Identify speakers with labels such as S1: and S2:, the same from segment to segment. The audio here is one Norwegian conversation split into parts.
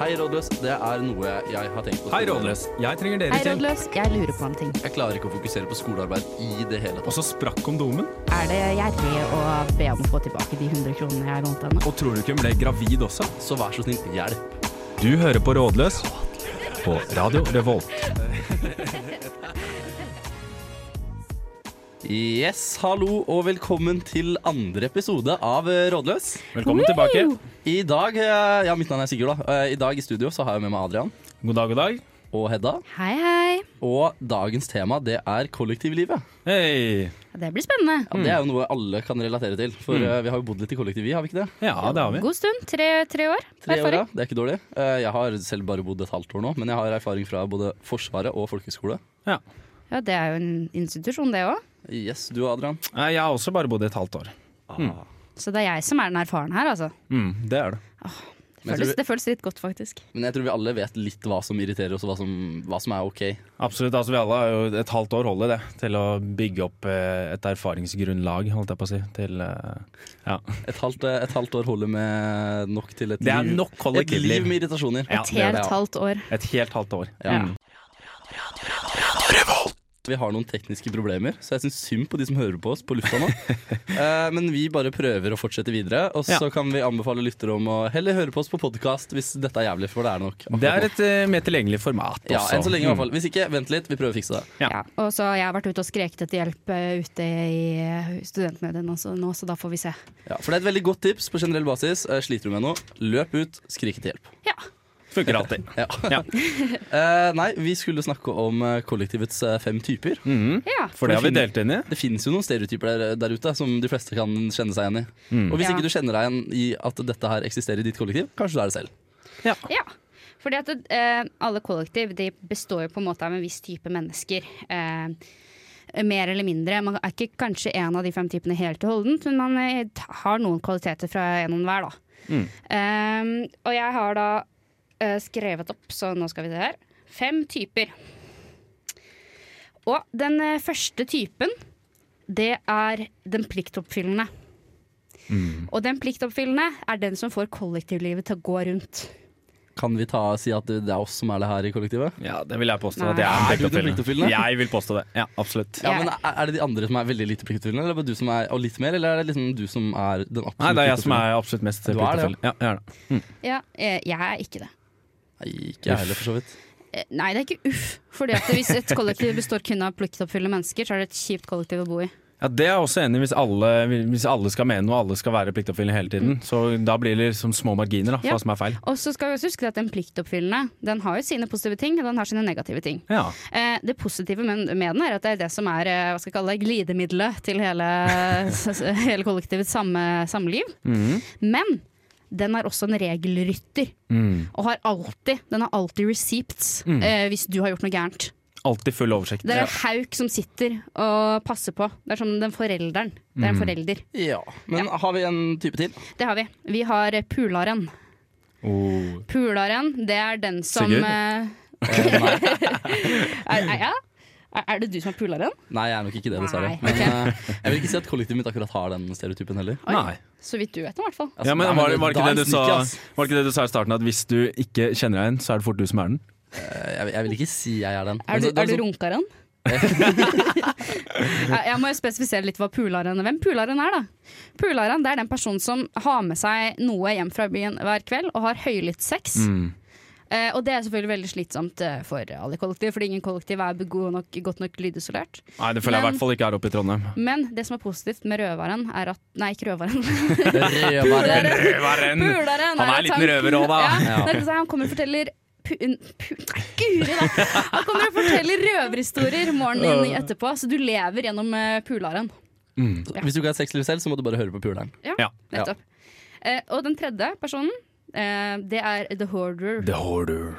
S1: Hei, rådløs. Det er noe jeg har tenkt på.
S2: Hei, Rådløs. Jeg trenger
S3: Hei,
S2: deres hjelp.
S3: rådløs. Jeg lurer på en ting.
S1: Jeg klarer ikke å fokusere på skolearbeid i det hele
S2: Og
S1: tatt.
S2: så sprakk kondomen.
S3: Er det gjerrig å be om å få tilbake de 100 kronene jeg lånte henne?
S2: Og tror du ikke hun ble gravid også?
S1: Så vær så snill, hjelp.
S2: Du hører på Rådløs på Radio Revolt.
S1: Yes, hallo og velkommen til andre episode av eh, Rådløs.
S4: Velkommen tilbake.
S1: I dag eh, Ja, mitt navn er Sigurd, da. Eh, I dag i studio så har jeg med meg Adrian
S4: God dag, god dag.
S1: og Hedda.
S3: Hei, hei.
S1: Og dagens tema, det er kollektivlivet.
S4: Hei.
S3: Det blir spennende.
S1: Ja, det er jo noe alle kan relatere til. For eh, vi har jo bodd litt i kollektiv, vi, har vi ikke det?
S4: Ja, det har vi.
S3: God stund. Tre, tre år.
S1: Tre år, ja.
S3: Erfaring.
S1: Det er ikke dårlig. Eh, Jeg har selv bare bodd et halvt år nå, men jeg har erfaring fra både Forsvaret og folkehøyskole.
S4: Ja.
S3: Ja, det er jo en institusjon, det òg.
S1: Yes, du Adrian.
S4: Nei, Jeg har også bare bodd i et halvt år.
S3: Så det er jeg som er den erfaren her, altså.
S4: Mm, det er det.
S3: Det
S1: Men jeg
S3: føles,
S1: tror-
S3: det føles litt godt, faktisk.
S1: Men jeg tror vi alle vet litt hva som irriterer oss, og hva som, hva som er ok.
S4: Absolutt. altså Vi alle har jo et halvt år holder det til å bygge opp eh, et erfaringsgrunnlag, holdt jeg på å si. Til, eh, ja.
S1: Et halvt, eh, et halvt år holder med nok til et
S4: Det er
S1: liv,
S4: nok
S1: et liv
S4: kollektivliv.
S1: med irritasjoner.
S4: Ja,
S3: Et
S4: det er
S3: helt
S4: det, ja.
S3: halvt år.
S4: Et helt halvt år.
S1: Ja.
S4: Mm.
S1: Vi har noen tekniske problemer, så jeg syns synd på de som hører på oss på lufta nå. Eh, Men vi bare prøver å fortsette videre, og så
S4: Ja.
S1: kan vi anbefale lyttere om å heller høre på oss på podkast hvis dette er jævlig, for det er det nok. akkurat
S4: Det er
S1: nå.
S4: et eh, mer tilgjengelig format også. Mm.
S1: ja, enn så lenge i hvert fall. Hvis ikke, vent litt, vi prøver å fikse det.
S4: Ja.
S3: Ja. Og så har jeg har vært ute og skreket etter hjelp eh, ute i eh, studentmediene også nå, så da får vi se.
S1: Ja, for det er et veldig godt tips på generell basis. Eh, Sliter du med noe, løp ut, skrik etter hjelp.
S3: Ja.
S4: Mm. Funker alltid.
S1: Ja.
S4: Ja.
S1: Eh, nei, vi skulle snakke om eh, kollektivets eh, fem typer.
S4: Mhm.
S3: ja.
S4: For det har vi delt inn i.
S1: Det finnes jo noen stereotyper der, der ute som de fleste kan kjenne seg igjen i.
S4: Mm.
S1: Og hvis
S3: Ja.
S1: ikke du kjenner deg igjen i at dette her eksisterer i ditt kollektiv, kanskje du er det selv.
S3: Ja. Fordi at eh, alle kollektiv de består jo på en måte av en viss type mennesker. Eh, mer eller mindre. Man er ikke kanskje en av de fem typene helt og holdent, men man eh, t- har noen kvaliteter fra en og enhver, da. Eh, og jeg har da eh, skrevet opp, så nå skal vi se her, fem typer. Og den eh, første typen, det er den pliktoppfyllende. Og den pliktoppfyllende er den som får kollektivlivet til å gå rundt.
S1: Kan vi ta, si at det er oss som er det her i kollektivet?
S4: Ja, det vil jeg påstå.
S3: Nei.
S4: at jeg er
S1: Er du den
S4: en
S1: pliktoppfyllende?
S4: pliktoppfyllende. Jeg vil påstå det. Ja, absolutt.
S1: Ja,
S3: Jeg-
S1: men Er er det de andre som er veldig lite pliktutfyllende, eller er det du som er og litt mer? Eller er det liksom du som er den absolutt
S4: Nei, det er jeg som er absolutt mest
S1: Du er det, ja.
S4: pliktoppfyllende. Ja, jeg er det.
S3: Ja, eh, jeg er ikke det.
S1: Nei, ikke jeg heller, for så vidt.
S3: Eh, Nei, det er ikke uff. Fordi at Hvis et kollektiv består kun av pliktoppfyllende mennesker, så er det et kjipt kollektiv å bo i.
S4: Ja, Det er jeg også enig i. Hvis alle, hvis alle skal mene noe, alle skal være pliktoppfyllende hele tiden.
S1: Mm.
S4: Så da blir det liksom små marginer da, for
S3: Ja.
S4: hva som er feil.
S3: Og så skal vi også huske at Den pliktoppfyllende Den har jo sine positive ting, og den har sine negative ting.
S4: Ja.
S3: Eh, det positive med, med den er at det er det som er eh, hva skal jeg kalle det, glidemiddelet til hele, s- s- hele kollektivets samme, samliv. Men den er også en regelrytter, og har alltid, den har alltid receipts eh, hvis du har gjort noe gærent.
S4: Alltid full oversikt.
S3: Det er en hauk som sitter og passer på. Det er som den forelderen. Det er en forelder.
S1: Ja, Men har vi en type til?
S3: Det har vi. Vi har eh, pularen.
S4: Oh.
S3: Pularen, det er den som
S4: Sigurd?
S3: eh, er, er, ja? Er- er det du som er pularen?
S1: Nei, jeg er nok ikke det, dessverre.
S3: Nei,
S1: Men
S3: ok.
S1: eh, jeg vil ikke si at kollektivet mitt akkurat har den stereotypen heller.
S3: Oi.
S4: Nei.
S3: Så vidt du vet, i hvert fall.
S1: Altså,
S4: Ja, men
S1: nei,
S4: var, det- var, det
S1: da
S4: ikke
S1: er
S4: det du
S1: en sneaky,
S4: sa,
S1: ass.
S4: var det ikke det du sa i starten, at hvis du ikke kjenner deg igjen, så er det fort du som er den?
S1: Jeg, jeg vil ikke si jeg er den. Men
S3: Er du,
S1: det- det
S3: er du
S1: sånn-
S3: runkaren? Jeg jeg må jo spesifisere litt hva pularen Hvem pularen er, da. Pularen det er den personen som har med seg noe hjem fra byen hver kveld og har høylytt sex. Eh, og det er selvfølgelig veldig slitsomt eh, for alle kollektiv, fordi ingen kollektiv er be- god nok, godt nok lydisolert.
S4: Nei, det føler jeg i
S3: Men-
S4: hvert fall ikke her oppe i Trondheim.
S3: Men det som er positivt med rødvaren, er at Nei, ikke rødvaren.
S1: Rødvaren.
S4: Røveren!
S3: Pularen
S4: Han er en
S3: at
S4: liten røver også, da.
S3: Ja,
S1: Ja.
S3: det er sånn, han kommer og forteller pu, pu, nei, guri, da. Han kommer og forteller røverhistorier morgenen inn etterpå, så du lever gjennom eh, pularen.
S1: Hvis du ikke har sexliv selv, så må du bare høre på puleren.
S4: Ja.
S3: Nettopp. Eh, og den tredje personen, eh, det er the hoarder.
S4: The hoarder.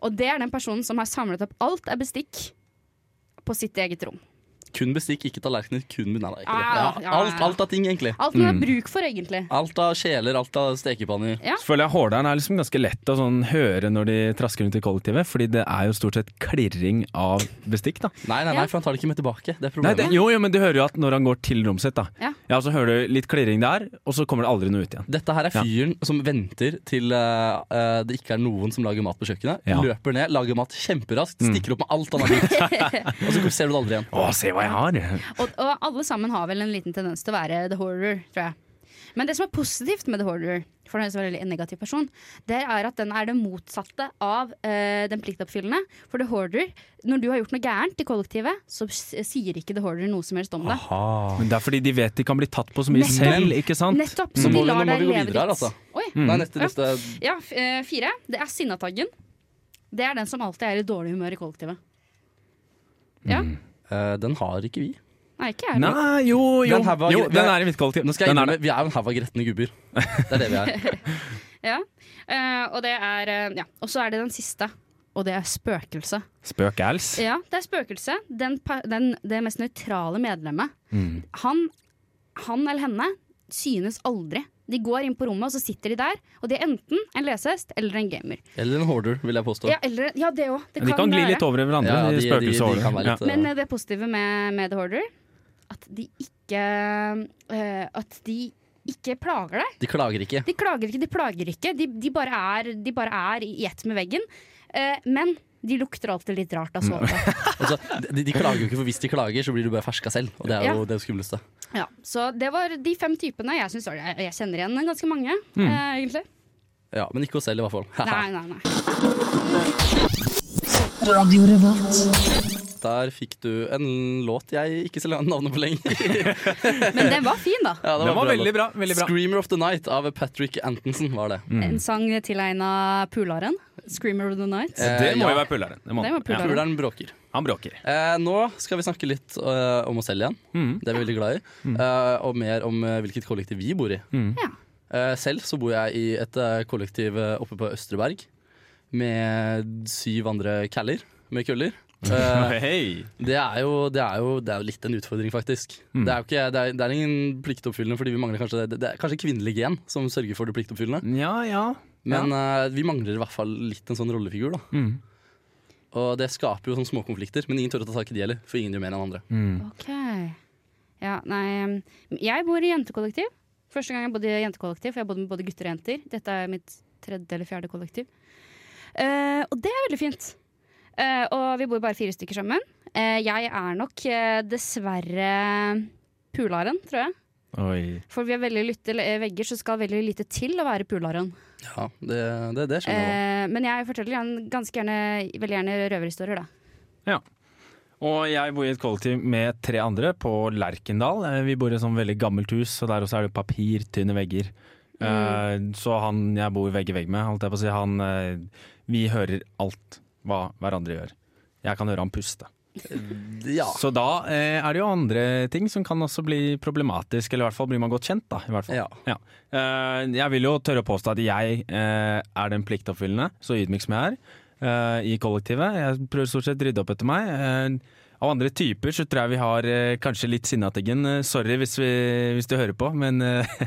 S3: Og det er den personen som har samlet opp alt er bestikk på sitt eget rom.
S1: kun bestikk, ikke tallerkener, kun Nei, nei, ikke det. Ja,
S3: Ah, ja, ja,
S1: alt,
S3: ja.
S1: alt av ting, egentlig.
S3: Alt man har bruk for, egentlig.
S1: Alt av kjeler, alt av stekepanner.
S3: Ja.
S4: Så føler jeg Hordaen er liksom ganske lett å sånn høre når de trasker rundt i kollektivet, fordi det er jo stort sett klirring av bestikk, da.
S1: Nei, nei,
S3: Ja.
S1: nei, for han tar det ikke med tilbake. Det er
S4: Nei,
S1: problemet.
S4: det, jo, jo, men du hører jo at når han går til rommet sitt, da.
S3: Ja.
S4: så hører du litt klirring der, og så kommer det aldri noe ut igjen.
S1: Dette her er fyren som venter til eh, eh, det ikke er noen som lager mat på kjøkkenet.
S4: Ja. Mm.
S1: Løper ned, lager mat kjemperaskt, stikker opp med alt han har brukt. og så ser du det aldri igjen.
S4: Å, se hva jeg har!
S3: Og, og alle sammen har vel en liten tendens til å være the horror, tror jeg. Men det som er positivt med the horror, for den er så veldig en negativ person, det er at den er det motsatte av eh, den pliktoppfyllende. For the horror, når du har gjort noe gærent i kollektivet, så s- sier ikke the horror noe som helst om
S1: Ah,
S3: det.
S4: Men det er fordi de vet de kan bli tatt på så mye
S3: Nettopp.
S4: selv, ikke sant?
S3: Nettopp,
S1: Så
S3: så
S1: må
S3: de
S1: vi- Mm. nå
S3: lar
S1: må
S3: deg
S1: vi gå
S3: leve
S1: videre her,
S3: ditt.
S1: altså.
S3: Oi.
S1: Nei, neste,
S3: Ja.
S1: neste.
S3: Ja, f eh, fire. Det er sinnataggen. Det er den som alltid er i dårlig humør i kollektivet. Ja.
S1: Eh, den har ikke vi.
S3: Nei, ikke jeg.
S4: Nei, jo, jo.
S1: Den her var-
S4: jo
S1: det-
S4: den er i mitt kollektiv.
S1: Nå skal jeg
S4: Den er
S1: innrømme, Vi er jo en haug av gretne gubber. Det er det vi er.
S3: Ja. Eh, og det er eh, Ja. Og så er det den siste. Og det er spøkelse.
S4: det. Spøkæls.
S3: Ja, det er spøkelse. Den, pa- den, det mest nøytrale medlemmet.
S4: Mm.
S3: Han, han eller henne synes aldri. De går inn på rommet, og så sitter de der. Og de er enten en lesehest eller en gamer.
S1: Eller en hoarder, vil jeg påstå.
S3: Ja, eller, ja det òg. Det
S4: De kan gli
S3: være.
S4: litt over i hverandre,
S1: Ja,
S4: de, spøkelseshårene.
S1: kan være litt,
S4: Ja.
S1: eh,
S3: Men eh, det positive med, med The Hoarder, at de ikke eh, At de ikke plager deg.
S1: De klager ikke.
S3: De klager ikke, de plager ikke. De, de, bare, er, de bare er i ett med veggen. Eh, men de lukter alltid litt rart av sove.
S1: Altså, de, de klager jo ikke, for hvis de klager, så blir du bare ferska selv. Og det er jo
S3: Ja.
S1: det skumleste.
S3: Ja, så det var de fem typene. Jeg, synes, jeg, jeg kjenner igjen ganske mange, eh, egentlig.
S1: Ja, men ikke oss selv, i hvert fall.
S3: Nei, nei, nei.
S1: Der fikk du en låt jeg ikke ser navnet på lenger.
S3: Men den var fin, da.
S1: Ja,
S4: Den var
S1: bra
S4: veldig
S1: låt.
S4: bra. veldig bra. Mm.
S1: 'Screamer of the Night' av Patrick Antonsen var det.
S3: En sang tilegna pularen. 'Screamer of the Night'.
S1: Eh,
S4: Det må
S1: ja.
S4: jo være pulleren. Det må-
S3: Det må
S4: ja.
S3: pulleren.
S1: Puleren bråker.
S4: Han bråker.
S1: Eh, nå skal vi snakke litt eh, om oss selv igjen.
S4: Mm.
S1: Det er vi veldig glad i. Eh, og mer om eh, hvilket kollektiv vi bor i.
S3: Ja.
S1: Eh, selv så bor jeg i et eh, kollektiv eh, oppe på Østreberg med syv andre caller med køller. Eh,
S4: Hei!
S1: det, er jo, det, er jo, det er jo litt en utfordring, faktisk. Det, er jo ikke, det, er, det er ingen pliktoppfyllende, fordi vi mangler kanskje det, det er kanskje kvinnelig gen som sørger for det pliktoppfyllende.
S4: Ja, ja.
S1: Men eh, vi mangler i hvert fall litt en sånn rollefigur, da. Og det skaper jo sånne småkonflikter, men ingen tør å ta tak i de heller, for ingen gjør mer enn andre.
S4: Mm.
S3: Ok. Ja, nei, um, jeg bor i jentekollektiv. Første gang jeg bodde i jentekollektiv, for jeg bodde med både gutter og jenter. Dette er mitt tredje eller fjerde kollektiv. Eh, og det er veldig fint. Eh, og vi bor bare fire stykker sammen. Eh, jeg er nok eh, dessverre pularen, tror jeg.
S4: Oi.
S3: For vi har veldig lytte eh, vegger, så skal veldig lite til å være pularen.
S1: Ja, det, det, det skjønner jeg.
S3: Eh, men jeg forteller gjerne, ganske gjerne, veldig gjerne røverhistorier, da.
S4: Ja. Og jeg bor i et kollektiv med tre andre på Lerkendal. Eh, Vi bor i et sånn veldig gammelt hus, og der også er det papirtynne vegger. Eh, Så han jeg bor vegg i vegg med, holdt jeg på å si, han eh, Vi hører alt hva hverandre gjør. Jeg kan høre han puste.
S1: da. Ja.
S4: Så da eh, er det jo andre ting som kan også bli problematisk, eller i hvert fall blir man godt kjent, da. I hvert fall.
S1: Ja.
S4: Eh, jeg vil jo tørre å påstå at jeg eh, er den pliktoppfyllende, så ydmyk som jeg er, eh, i kollektivet. Jeg prøver stort sett å rydde opp etter meg. Eh, av andre typer så tror jeg vi har eh, kanskje litt sinnateggen. Eh, sorry hvis, vi, hvis du hører på, men eh,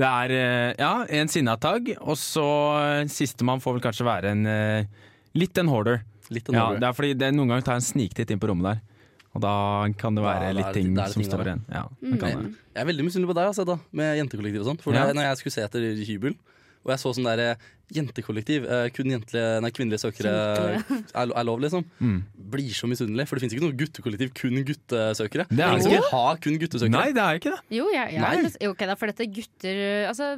S4: det er eh, ja, en sinnatagg. Og så eh, sistemann får vel kanskje være en eh, litt en hoarder.
S1: Litt
S4: Ja,
S1: annerledes.
S4: det er fordi det, noen ganger tar jeg en sniktitt inn på rommet der. Og da kan det være
S1: Ja, det er-
S4: litt ting Mm.
S1: det er
S4: som
S1: ting
S4: står
S1: der,
S4: igjen. Ja, det kan det.
S1: Jeg er veldig misunnelig på deg altså, da, med jentekollektiv og sånn. For
S4: Ja.
S1: da- når jeg skulle se etter hybel, og jeg så sånn der eh, jentekollektiv, eh, kun jentlige, nei, kvinnelige søkere er, lo- er lov, liksom.
S4: Mm.
S1: Blir så misunnelig. For det fins ikke noe guttekollektiv, kun guttesøkere.
S4: Det er
S1: Ingen
S4: det
S1: som
S4: ikke.
S1: vil ha kun guttesøkere.
S4: Nei, det er ikke det.
S3: Jo, jeg, jeg
S1: Nei.
S3: er litt- jo, ok, da, for dette er gutter uh, altså,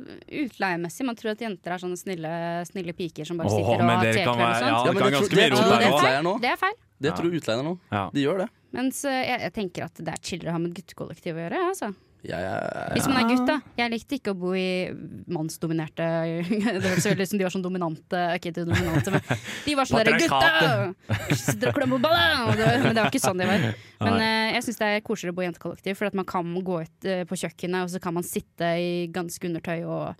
S3: Utleiemessig, man tror at jenter er sånne snille, snille piker som bare
S4: Åh,
S3: sitter og
S4: men
S3: har
S4: dere kan
S3: tekveld og
S4: være-
S3: sånt.
S4: Ja, det
S1: men
S4: kan
S1: tror-
S4: ganske mye
S1: tror
S4: rot der
S3: det,
S4: også.
S3: er
S1: utleier
S3: feil,
S1: nå.
S3: det er feil.
S1: Det tror utleier nå.
S4: Ja.
S1: De gjør det.
S3: Mens uh, jeg, jeg tenker at det er chillere å ha med et guttekollektiv å gjøre. ja, Altså.
S1: Jeg, jeg,
S3: Hvis man er gutt, da. Jeg likte ikke å bo i mannsdominerte Det høres veldig ut som de var sånn dominante. Ikke de dominante, men de var sånn derre
S4: Patriarkatet.
S3: Gutta! Dere klemmer på ballen! Og det- Men det var ikke sånn de var. Men eh, jeg syns det er koseligere å bo i jentekollektiv, for at man kan gå ut eh, på kjøkkenet, og så kan man sitte i ganske undertøy og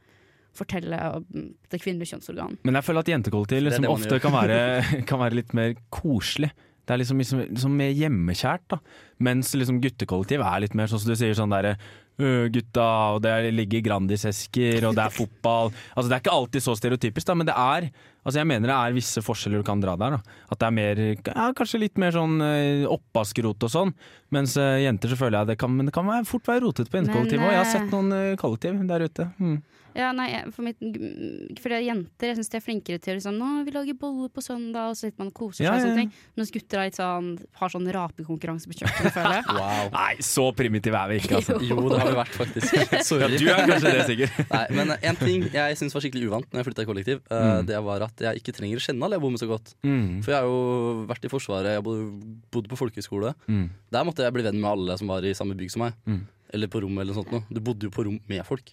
S3: fortelle om det kvinnelige kjønnsorgan.
S4: Men jeg føler at jentekollektiv
S1: er det
S4: liksom
S1: man
S4: ofte
S1: gjør.
S4: kan være, kan være litt mer koselig. Det er liksom, liksom, liksom mer hjemmekjært, da. Mens liksom guttekollektiv er litt mer sånn som du sier, sånn derre «Øh, gutta, og det er- ligger Grandis-esker, og det er fotball. Altså Det er ikke alltid så stereotypisk, da, men det er Altså jeg mener det er visse forskjeller du kan dra der. da At det er mer, ja, kanskje litt mer sånn eh, oppvaskerot og sånn. Mens eh, jenter så føler jeg det kan Men det kan være, fort være rotete på
S3: Men,
S4: jentekollektivet òg. Jeg har
S3: eh,
S4: sett noen eh, kollektiv der ute. Mm.
S3: Ja, nei, jeg- for, mitt, mm, for det er jenter jeg synes de er flinkere til å liksom, Nå, vi lager boller på søndag, og så sitter man og koser
S4: Ja,
S3: seg. og
S4: ja,
S3: sånne
S4: ja.
S3: ting Mens gutter er litt sånn, har sånn rapekonkurranse på kjøkkenet, føler jeg.
S1: Wow.
S4: Nei, så primitive er vi ikke, altså.
S1: Jo, det har vi vært, faktisk.
S4: Ja,
S1: Sorry.
S4: du er kanskje det, sikkert.
S1: Nei, men én ting jeg syns var skikkelig uvant Når jeg flytta i kollektiv, eh, det var at jeg ikke trenger skjennal. Jeg bor med så godt.
S4: Mm.
S1: For jeg har jo vært i Forsvaret, jeg bodde, bodde på folkehøyskole.
S4: Mm.
S1: Der måtte jeg bli venn med alle som var i samme bygg som meg.
S4: Mm.
S1: Eller på rommet eller noe sånt. noe. Du bodde jo på rom med folk.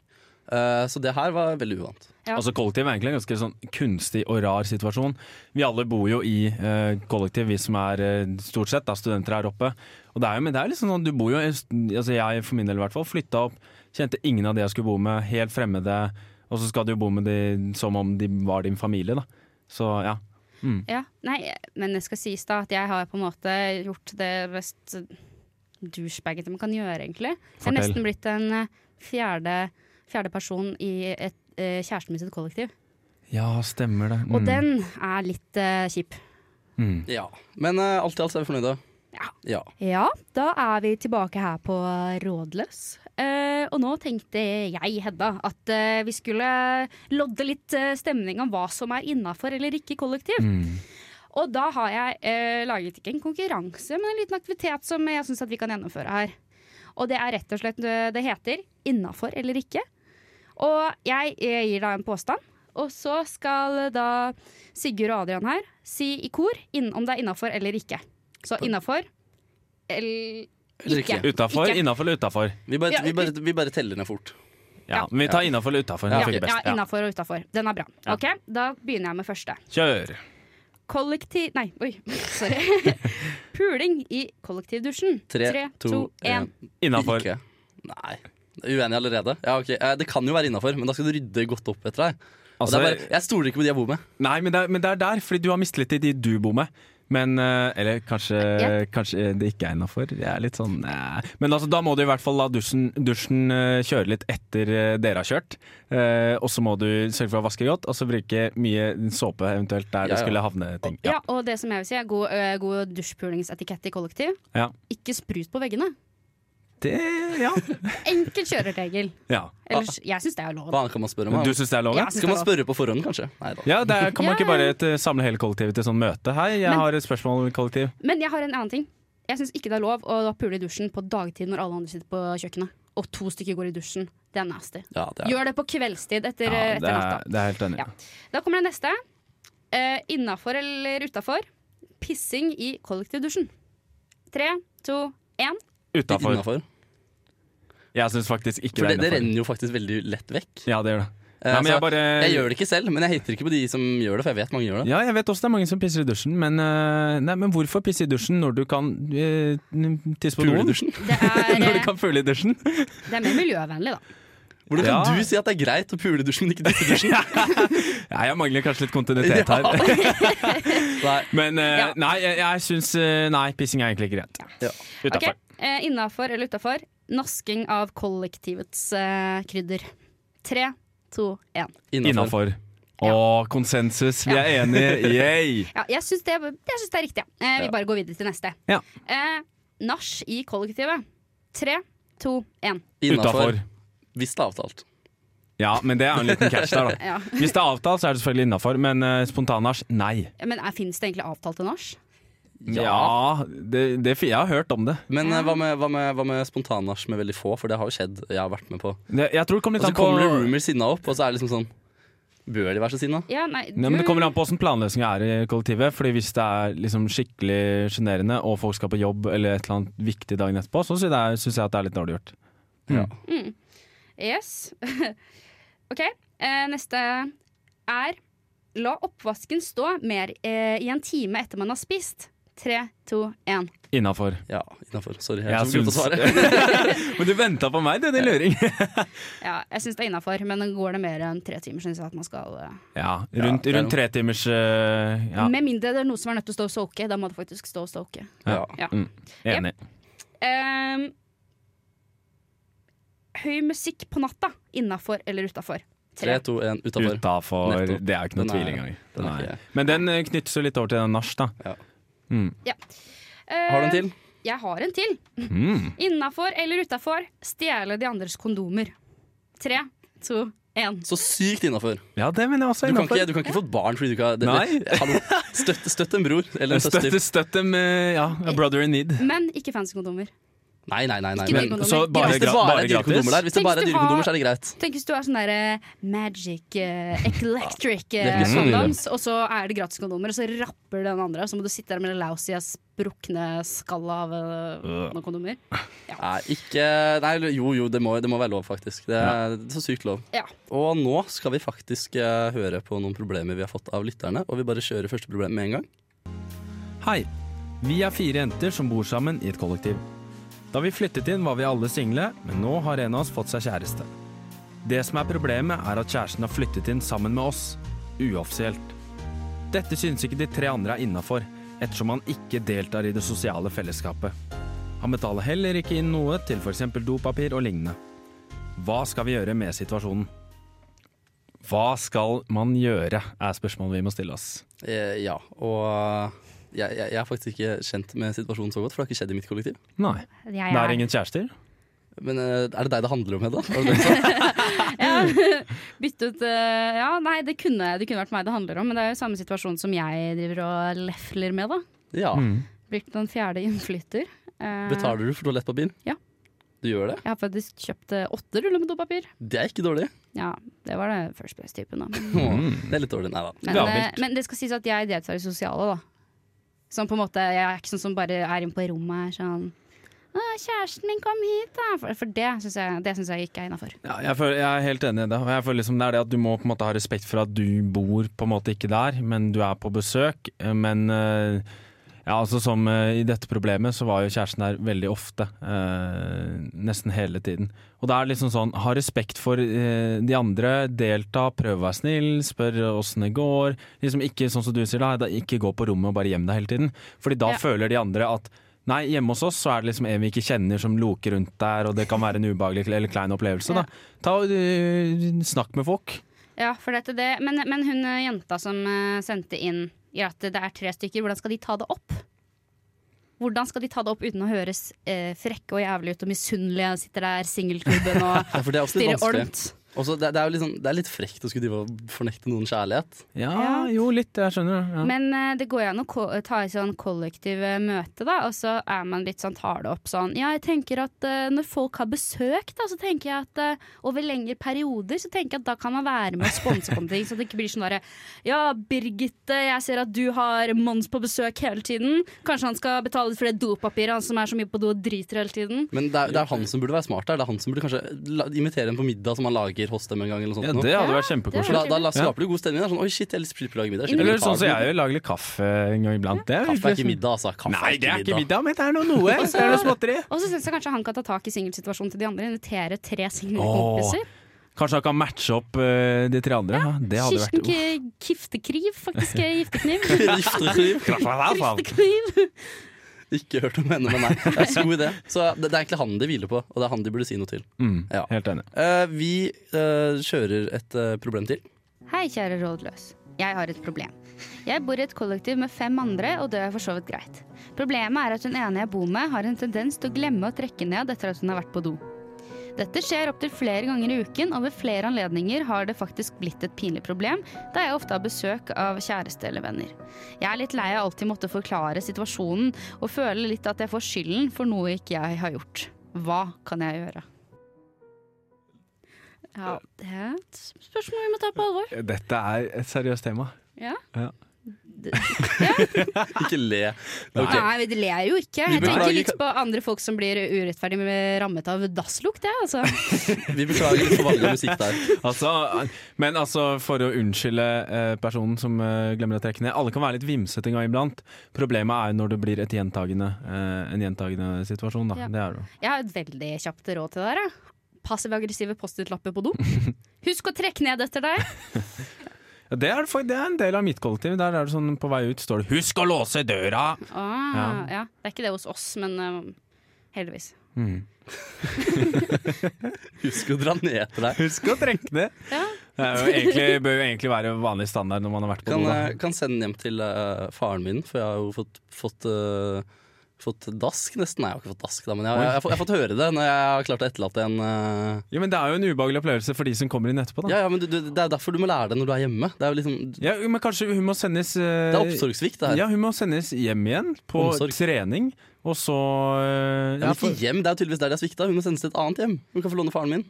S1: Eh, så det her var veldig uvant.
S3: Ja.
S4: Altså Kollektiv er egentlig en ganske sånn kunstig og rar situasjon. Vi alle bor jo i eh, kollektiv, vi som er eh, stort sett da, studenter her oppe. Og det er jo, men det er liksom sånn, du bor jo, i- altså Jeg for min del i hvert fall flytta opp, kjente ingen av de jeg skulle bo med, helt fremmede. Og så skal du jo bo med de som om de var din familie, da. Så ja.
S3: Ja, nei, men det skal sies da at jeg har på en måte gjort det mest douchebagete man kan gjøre, egentlig. Jeg er
S4: Fortell.
S3: nesten blitt en eh, fjerde, fjerde person i et, eh, kjæresten min sitt kollektiv.
S4: Ja, stemmer det.
S3: Og den er litt eh, kjip.
S4: Mm.
S1: Ja. Men eh, alt i alt så er vi fornøyde.
S3: Ja.
S1: Ja.
S3: Ja, da er vi tilbake her på Rådløs. Eh, og nå tenkte jeg, Hedda, at eh, vi skulle lodde litt eh, stemning om hva som er innafor eller ikke i kollektiv.
S4: Mm.
S3: Og da har jeg eh, laget ikke en konkurranse, men en liten aktivitet som jeg syns vi kan gjennomføre her. Og det er rett og slett eh, Det heter 'innafor eller ikke'. Og jeg, eh, gir da en påstand, og så skal eh, da Sigurd og Adrian her si i kor inn, om det er innafor eller ikke. Så innafor eller
S1: Eller
S3: ikke.
S1: ikke.
S4: Utafor,
S3: Ikke.
S4: innafor eller utafor?
S1: Vi bare,
S3: Ja,
S1: vi, bare, vi bare teller ned fort.
S4: Ja.
S3: Ja.
S4: Men vi tar innafor eller utafor.
S1: Ja,
S4: Det
S3: Ja,
S4: funker
S3: ja
S4: best. Ja.
S3: innafor og utafor. Den er bra. Ok, Da begynner jeg med første.
S4: Kjør!
S3: Kollektiv... Nei, oi, sorry. Puling i kollektivdusjen.
S1: Tre,
S3: Tre,
S1: to,
S3: to, en.
S1: én.
S4: Innafor.
S1: Ikke. Nei. Det er Uenig allerede? Ja, ok. Eh, Det kan jo være innafor, men da skal du rydde godt opp etter deg. Og det
S4: Altså-
S1: er bare, jeg stoler ikke på de jeg bor med.
S4: Nei, men det, er, men det er der, fordi du har mistillit til de du bor med. Men, eh, eller kanskje,
S3: Jeg-
S4: kanskje det ikke er innafor. Jeg er litt sånn eh. Men altså, da må du i hvert fall la dusjen, dusjen eh, kjøre litt etter eh, dere har kjørt. Eh, og så må du sørge for å vaske godt, og så bruke mye såpe eventuelt der
S1: Ja,
S4: det
S1: ja.
S4: skulle havne ting.
S3: Ja, og det som jeg vil si er god, øh, god dusjpulingsetikett i kollektiv.
S4: Ja.
S3: Ikke sprut på veggene.
S4: Det, ja.
S3: Enkel kjørerregel.
S4: ja.
S3: Ellers, jeg syns det er lov.
S1: Hva annet kan man spørre om?
S4: Du
S1: da?
S4: syns det er lov?
S3: Ja.
S4: Ja.
S1: Skal man spørre på forhånd, kanskje? Nei da.
S4: Ja, det er, Kan man
S3: Ja,
S4: ikke bare eh, samle hele kollektivet til sånn møte? Hei, jeg
S3: Men-
S4: har et spørsmål, kollektiv.
S3: Men jeg har en annen ting. Jeg syns ikke det er lov å pule i dusjen på dagtid når alle andre sitter på kjøkkenet. Og to stykker går i dusjen. Det er nasty.
S1: Ja, det er.
S3: Gjør det på kveldstid etter,
S4: Ja,
S3: eh, etter
S4: det
S3: natta.
S4: er, det er helt enig.
S3: Ja. Da kommer det neste. Eh, Innafor eller utafor? Pissing i kollektivdusjen. Tre, to, én.
S4: Utafor.
S1: Innafor.
S4: Jeg syns faktisk ikke
S1: For det,
S4: det
S1: det
S4: er innafor.
S1: renner jo faktisk veldig lett vekk.
S4: Ja, det gjør det.
S1: Eh,
S4: Nei, men
S1: så
S4: jeg bare
S1: Jeg gjør det ikke selv, men jeg hater ikke på de som gjør det, for jeg vet mange gjør det.
S4: Ja, jeg vet også det er mange som pisser i dusjen, men, eh, nei, men hvorfor pisse i dusjen når du kan eh, n- tisse på
S1: Pule i
S4: doen?
S1: dusjen.
S3: Det er,
S4: Når du
S3: eh,
S4: kan pule i dusjen?
S3: det er mer miljøvennlig, da.
S1: Hvordan kan
S4: Ja.
S1: du si at det er greit å pule i dusjen, men ikke disse dusjen?
S4: Ja, jeg mangler kanskje litt kontinuitet
S1: Ja.
S4: her.
S1: Nei,
S4: Men eh,
S3: Ja.
S4: nei, jeg, jeg syns eh, Nei, pissing er egentlig ikke greit.
S1: Ja.
S4: Utenfor.
S3: eh, Innafor eller utafor? Nasking av kollektivets eh, krydder. Tre, to, én.
S1: innafor.
S4: Innafor. Å, konsensus. Vi er enige. Yay!
S3: Ja, jeg syns det, jeg syns det er riktig. Ja. Eh, vi
S1: Ja.
S3: bare går videre til neste.
S4: Ja.
S3: Eh, nach i kollektivet. Tre, to, én.
S1: Innafor.
S4: Utafor.
S1: Hvis det er avtalt.
S4: Ja, men det er jo en liten catch der, da.
S3: Ja.
S4: Hvis det er avtalt, så er det selvfølgelig innafor, men uh, spontanasj, nei.
S3: Men fins det egentlig avtalte nach?
S4: Ja, det, det, jeg har hørt om det.
S1: Men eh, hva med, hva med, hva med spontannasj med veldig få, for det har jo skjedd. Jeg har vært med på.
S4: Jeg, jeg tror det
S1: Og
S4: kom litt
S1: så
S4: an på
S1: kommer det rumors sinna opp, og så er det liksom sånn Bør de være så sinna?
S3: Ja, nei,
S4: Nei, men Det kommer an på hvordan planløsninga er i kollektivet. Fordi Hvis det er liksom skikkelig sjenerende og folk skal på jobb eller et eller annet viktig dagen etterpå, så syns jeg, synes jeg at det er litt dårlig gjort.
S3: Yes. OK. Eh, neste er La oppvasken stå mer eh, i en time etter man har spist. Tre, to, én.
S4: Innafor.
S1: Ja, innafor. Sorry, jeg,
S4: Jeg
S1: jeg glemte å
S4: syns-
S1: svare.
S4: Men du venta på meg, det er din luring!
S3: Ja, jeg syns det er innafor, men går det mer enn tre timer, syns jeg at man skal eh,
S4: Ja, rundt,
S1: det er
S4: rundt tre timers eh, Ja,
S3: Med mindre det er noe som er nødt til å stå og soake, da må det faktisk stå og soake.
S1: Ja.
S4: enig.
S3: Ehm, høy musikk på natta, innafor eller utafor.
S1: Tre, to, én, utafor.
S4: Utafor.
S1: Nettopp.
S4: Det er jo ikke
S1: Den
S4: noe
S1: er-
S4: tvil engang.
S1: den er
S4: Nei.
S1: ikke-
S4: Men den eh, knytter seg litt over til den nach, da.
S1: Ja.
S4: Mm.
S1: Har du en til?
S3: Ehm, Jeg har en til.
S4: Mm.
S3: Innafor eller utafor, stjele de andres kondomer. Tre, to, én.
S1: Så sykt innafor.
S4: Ja, det mener jeg også
S1: Du, kan
S4: innafor.
S1: ikke- du kan ikke få et barn fordi du ikke har det-
S4: Nei.
S1: det- Hallo. Støtt, støtt en bror eller en søster.
S4: Støtte, støtte med ja, a brother in need.
S3: Men ikke fancy kondomer.
S1: Nei, nei, nei. nei.
S3: Ikke
S1: Men,
S3: dyr kondomer.
S4: så bare
S1: hvis det
S4: gra-
S1: bare
S4: bare
S1: er dyre
S4: gratis?
S1: kondomer der, hvis det
S3: Tenk
S1: bare er
S3: hvis du
S1: dyre kondomer,
S3: har-
S1: så er det greit.
S3: Tenk hvis du har sånn derre magic eh, electric
S1: er
S3: eh,
S1: ikke så ille.
S3: kondoms, og så er det gratis kondomer, og så rapper den andre, og så må du sitte der med det lousy sprukne skallet av eh, noen kondomer.
S1: Nei, ikke Nei, eller jo, jo, det må, det må være lov, faktisk. Det er, det er så sykt lov.
S3: Ja.
S1: Og nå skal vi faktisk eh, høre på noen problemer vi har fått av lytterne, og vi bare kjører første problem med en gang.
S4: Hei. Vi er fire jenter som bor sammen i et kollektiv. Da vi flyttet inn var vi alle single, men nå har en av oss fått seg kjæreste. Det som er problemet er at kjæresten har flyttet inn sammen med oss, uoffisielt. Dette synes ikke de tre andre er innafor, ettersom han ikke deltar i det sosiale fellesskapet. Han betaler heller ikke inn noe til f.eks. dopapir og lignende. Hva skal vi gjøre med situasjonen? Hva skal man gjøre, er spørsmålet vi må stille oss.
S1: Eh, ja, og eh, jeg, jeg, jeg er faktisk ikke kjent med situasjonen så godt, for det har ikke skjedd i mitt kollektiv.
S4: Nei,
S3: Jeg
S4: det
S3: er-
S4: er ingen kjærester.
S1: Men eh, er det deg det handler om, Hedda? Var det det du sånn? sa?
S3: Bytte ut eh, Ja, nei, det kunne, det kunne vært meg det handler om, men det er jo samme situasjon som jeg driver og lefler med, da.
S1: Ja.
S4: Mm.
S3: Blitt den fjerde innflytter. Eh,
S1: Betaler du for toalettpapir?
S3: Ja.
S1: Du gjør det?
S3: Jeg har faktisk kjøpt eh, åtte ruller med dopapir.
S1: Det er ikke dårlig.
S3: Ja, det var det first place-typen, da.
S4: Mm.
S1: Åh, Det er litt dårlig. Nei da.
S3: Men, eh,
S4: Gammelt.
S3: men det skal sies at jeg deltar i sosiale, da. Sånn på en måte, Jeg er ikke sånn som bare er inne på rommet og er sånn Å, kjæresten min, kom hit, da! For, for det syns jeg, det synes jeg ikke er innafor.
S4: Ja, jeg, føler, jeg er helt enig i det. Og jeg føler liksom det er det at Du må på en måte ha respekt for at du bor på en måte ikke der, men du er på besøk. Men eh, ja, altså som eh, i dette problemet, så var jo kjæresten der veldig ofte. eh, Nesten hele tiden. Og det er liksom sånn, ha respekt for eh, de andre, delta, prøv å være snill, spør åssen det går. Liksom ikke sånn som du sier da, da ikke gå på rommet og bare gjem deg hele tiden. Fordi da
S3: Ja.
S4: føler de andre at Nei, hjemme hos oss så er det liksom en vi ikke kjenner som loker rundt der, og det kan være en ubehagelig eller klein opplevelse.
S3: Ja.
S4: da. Ta og øh, Snakk med folk.
S3: Ja, for dette det. Men, men hun eh, jenta som eh, sendte inn i at det er tre stykker, hvordan skal de ta det opp? Hvordan skal de ta det opp uten å høres eh, frekke og jævlig ut og misunnelige og sitter der singelklubben og
S1: Ja, for det er også litt
S3: stirrer
S1: vanskelig.
S3: ormt?
S1: Også, det, det, er jo litt sånn, det er litt frekt å skulle drive og fornekte noen kjærlighet.
S4: Ja,
S3: Ja.
S4: jo, litt. Jeg skjønner. Ja.
S3: Men eh, det går jo an å ko ta i sånn kollektive møte, da, og så er man litt sånn, tar det opp sånn Ja, jeg tenker at eh, når folk har besøk, da, så tenker jeg at eh, over lengre perioder, så tenker jeg at da kan man være med og sponse på noe, så det ikke blir sånn derre Ja, Birgitte, jeg ser at du har Mons på besøk hele tiden. Kanskje han skal betale litt for det dopapiret, han som er så mye på do og driter hele tiden.
S1: Men det er, det er han som burde være smart der. Det er han som burde kanskje la, invitere en på middag som han lager hos dem en gang. Eller noe sånt
S4: ja,
S1: nå.
S4: det hadde vært
S1: For
S4: kjempekoselig.
S1: da, da la- skaper du god stemning. Det er sånn, Oi, shit, jeg har lyst til å lage middag. Shit,
S4: Eller
S1: vi tar
S4: sånn som
S1: den.
S4: jeg gjør, lager litt kaffe en gang iblant. Det er
S1: Kaffe er
S4: virkelig sånn-
S1: ikke middag, altså. Kaffe
S4: Nei, det er ikke middag, men det er noe noe. Det er noe småtteri.
S3: Og så syns jeg kanskje han kan ta tak i singelsituasjonen til de andre, invitere tre single
S4: Åh,
S3: kompiser.
S4: Kanskje han kan matche opp øh, de tre andre. Ja, det hadde
S3: Kirsten
S4: vært Uff.
S3: K- Giftekriv, faktisk. eh, Giftekniv.
S1: Giftekniv.
S3: Kristekniv.
S1: Ikke hørt om henne, men nei. Det er så god idé. Så det, det er egentlig han de hviler på, og det er han de burde si noe til.
S4: Mm,
S1: Ja.
S4: Helt enig.
S1: Eh, vi eh, kjører et eh, problem til.
S3: Hei, kjære rådløs. Jeg har et problem. Jeg bor i et kollektiv med fem andre, og det er for så vidt greit. Problemet er at hun ene jeg bor med, har en tendens til å glemme å trekke ned etter at hun har vært på do. Dette skjer opptil flere ganger i uken, og ved flere anledninger har det faktisk blitt et pinlig problem, da jeg ofte har besøk av kjæreste eller venner. Jeg er litt lei av alltid måtte forklare situasjonen, og føler litt at jeg får skylden for noe ikke jeg har gjort. Hva kan jeg gjøre? Ja, det er et spørsmål vi må ta på alvor.
S4: Dette er et seriøst tema.
S3: Ja.
S4: Ja.
S3: det-
S1: Ikke le. Ok.
S3: Nei, vi ler jo ikke.
S1: Vi
S3: Jeg tenker
S1: beklager.
S3: litt på andre folk som blir urettferdig med- rammet av dasslukt, jeg, altså.
S1: Vi beklager for vanlig musikk der.
S4: Altså, men altså, for å unnskylde eh, personen som eh, glemmer å trekke ned Alle kan være litt vimsete en gang iblant. Problemet er jo når det blir et gjentagende, eh, en gjentagende situasjon. Da.
S3: Ja.
S4: Det er det. jo.
S3: Jeg har et veldig kjapt råd til dere. Passiv-aggressive Post-It-lapper på do. Husk å trekke ned etter deg.
S4: Ja, Det, er, det for- det er en del av mitt kollektiv. Der er det sånn på vei ut står det 'Husk å låse døra!'
S3: Ah, ja. Det er ikke det hos oss, men eh, heldigvis.
S1: Husk å dra ned etter deg.
S4: Husk å trekke ned!
S3: Ja.
S4: Det er jo egentlig, bør jo egentlig være vanlig standard når man har vært på
S1: Kan,
S4: do. da.
S1: eh, kan sende den hjem til eh, faren min, for jeg har jo fått, fått eh, Fått dask, nesten. Nei, jeg har ikke fått dask, da, men jeg, jeg, har fått- jeg har fått høre det når jeg har klart å etterlate en eh,
S4: Ja, men det er jo en ubehagelig opplevelse for de som kommer inn etterpå. Da.
S1: Ja, ja, men du, du, Det er derfor du må lære det når du er hjemme. Det er jo liksom, det
S4: Ja, men kanskje hun må sendes eh,
S1: er oppsorgssvikt, det her.
S4: Ja, hun må sendes hjem igjen på
S1: Omsorg.
S4: trening, og så eh,
S1: Ja,
S4: ja,
S1: men ikke
S4: for-
S1: hjem, Det er jo tydeligvis der de har svikta. Hun må sendes til et annet hjem. Hun kan få låne faren min.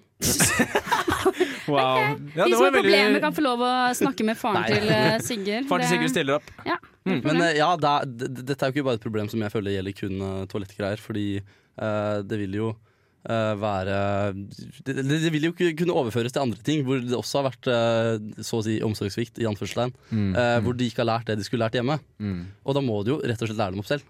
S4: Wow. Ja,
S3: De
S4: det
S3: som
S4: var
S3: har problemer,
S4: veldig
S3: kan få lov å snakke med faren
S1: Nei.
S3: til eh, Sigurd.
S4: Faren til
S3: Det-
S4: Sigurd stiller opp.
S3: Ja, det er
S1: Men
S3: problem.
S1: eh, ja, det er, d- d- dette er jo ikke bare et problem som jeg føler gjelder kun eh, toalettgreier, fordi eh, det vil jo eh, være det, det det vil jo ikke kunne overføres til andre ting, hvor det også har vært eh, så å si omsorgssvikt, i anførselstegn,
S4: Mm.
S1: eh, hvor de ikke har lært det de skulle lært hjemme. Og da må du jo rett og slett lære dem opp selv.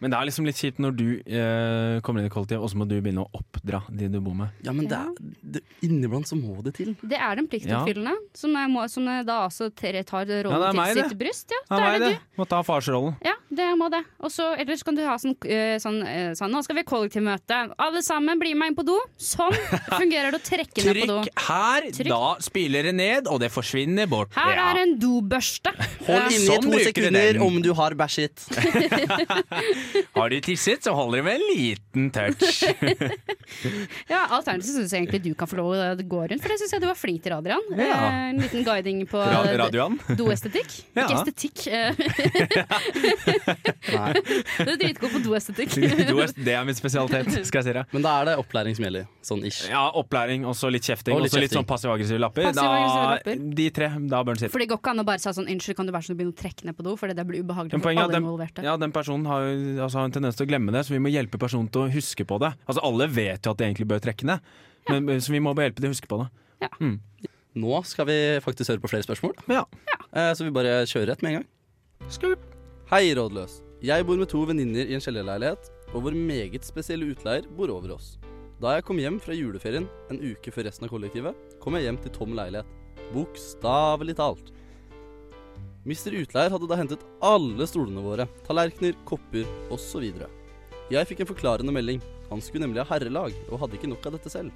S4: Men det er liksom litt kjipt når du eh, kommer inn i kollektiv, og så må du begynne å oppdra de du bor med.
S1: Ja, men det er, det, inniblant så må det til.
S3: Det er den pliktoppfyllende, som, er må, som er da altså tre- tar
S4: Ja,
S3: rollen
S4: det er meg,
S3: til sitt
S4: det.
S3: bryst. Ja,
S4: Ja,
S3: da
S4: nei,
S3: er det
S4: det.
S3: du.
S4: Må ta farsrollen.
S3: Ja, det må det. Og så, ellers kan du ha sånn, eh, sånn, eh, sånn Nå skal vi ha kollektivmøte. Alle sammen, bli med inn på do. Sånn fungerer det å trekke ned på do.
S4: her,
S3: Trykk.
S4: spyler det ned, og det forsvinner bort.
S3: Her
S4: Ja.
S3: er en dobørste.
S1: Hold inni i
S4: Sånn
S1: to
S4: bruker du den.
S1: sekunder om du har bæsjet.
S4: Har du tisset, så holder det med en liten touch.
S3: Ja, Alternativt syns jeg egentlig du kan få lov å gå rundt, for det syns jeg du var flink til, Adrian.
S4: Ja.
S3: Eh, en liten guiding på eh,
S4: Ra radioen.
S3: doestetikk.
S4: Ja.
S3: Ikke estetikk. eh,
S1: Nei.
S3: Du er dritgod på doestetikk.
S4: Do er- Det er min spesialitet, skal jeg si deg.
S1: Men da er det opplæring som gjelder. Sånn ish.
S4: Ja, opplæring og så litt kjefting.
S1: Og
S4: Og
S1: litt
S4: så litt
S1: kjefting.
S4: sånn passiv-aggressive lapper.
S3: Passiv-aggressive
S4: Da,
S3: lapper.
S4: de tre. Da bør den sitte.
S3: For det går ikke an å bare si sånn unnskyld, kan du være så snill å begynne å trekke ned på do, for det der blir ubehagelig
S4: Men
S3: for
S4: poenget er
S3: alle
S4: at den,
S3: involverte.
S4: ja, den personen har jo altså, har en tendens til å glemme det, så vi må hjelpe personen til å huske på det. Altså Alle vet jo at de egentlig bør trekke ned, men, så vi må bare hjelpe til å huske på det.
S1: Nå skal vi faktisk høre på flere spørsmål.
S4: Men ja,
S1: Eh, Så vi bare kjører rett med en gang. Hei, rådløs. Jeg bor med to venninner i en kjellerleilighet, og vår meget spesielle utleier bor over oss. Da jeg kom hjem fra juleferien en uke før resten av kollektivet, kom jeg hjem til tom leilighet. Bokstavelig talt. Mister utleier hadde da hentet alle stolene våre, tallerkener, kopper osv. Jeg fikk en forklarende melding. Han skulle nemlig ha herrelag, og hadde ikke nok av dette selv.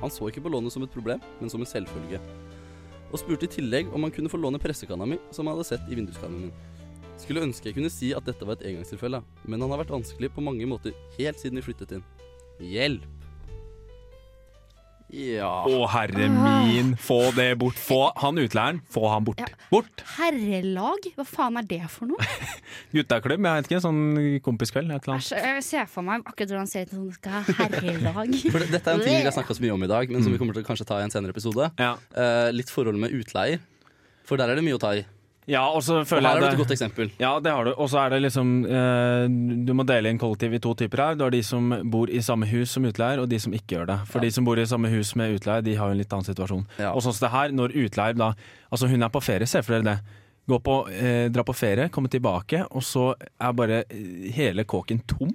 S1: Han så ikke på lånet som et problem, men som en selvfølge og spurte i tillegg om han kunne få låne pressekanna mi, som han hadde sett i vinduskarmen min. Skulle ønske jeg kunne si at dette var et engangstilfelle, men han har vært vanskelig på mange måter helt siden vi flyttet inn. Hjelp! Ja
S4: Å herre min, få det bort. Få han utleieren, få han bort.
S3: Ah. Ja.
S4: Bort!
S3: Herrelag? Hva faen er det for noe?
S4: Guttaklubb, jeg vet ikke, sånn kompiskveld, et eller annet.
S3: Æsj, jeg ser for meg akkurat hvordan han ser ut som skal ha herrelag.
S1: For det, Dette er en ting vi har snakka så mye om i dag, men som vi kommer til å kanskje ta i en senere episode.
S4: Mm. Ja,
S1: Eh, litt forhold med utleier. For der er det mye å ta i.
S4: ja og så
S1: Og her
S4: føler
S1: har du
S4: jeg
S1: et
S4: det.
S1: godt eksempel.
S4: Ja, det har du. Og så er det liksom eh, Du må dele inn kollektiv i to typer her. Du har de som bor i samme hus som utleier, og de som ikke gjør det. For de som bor i samme hus med utleier, de har jo en litt annen situasjon.
S1: Ja.
S4: Og sånn som det her, når utleier da Altså, hun er på ferie, ser for dere det. Gå på, eh, dra på ferie, komme tilbake, og så er bare eh, hele kåken tom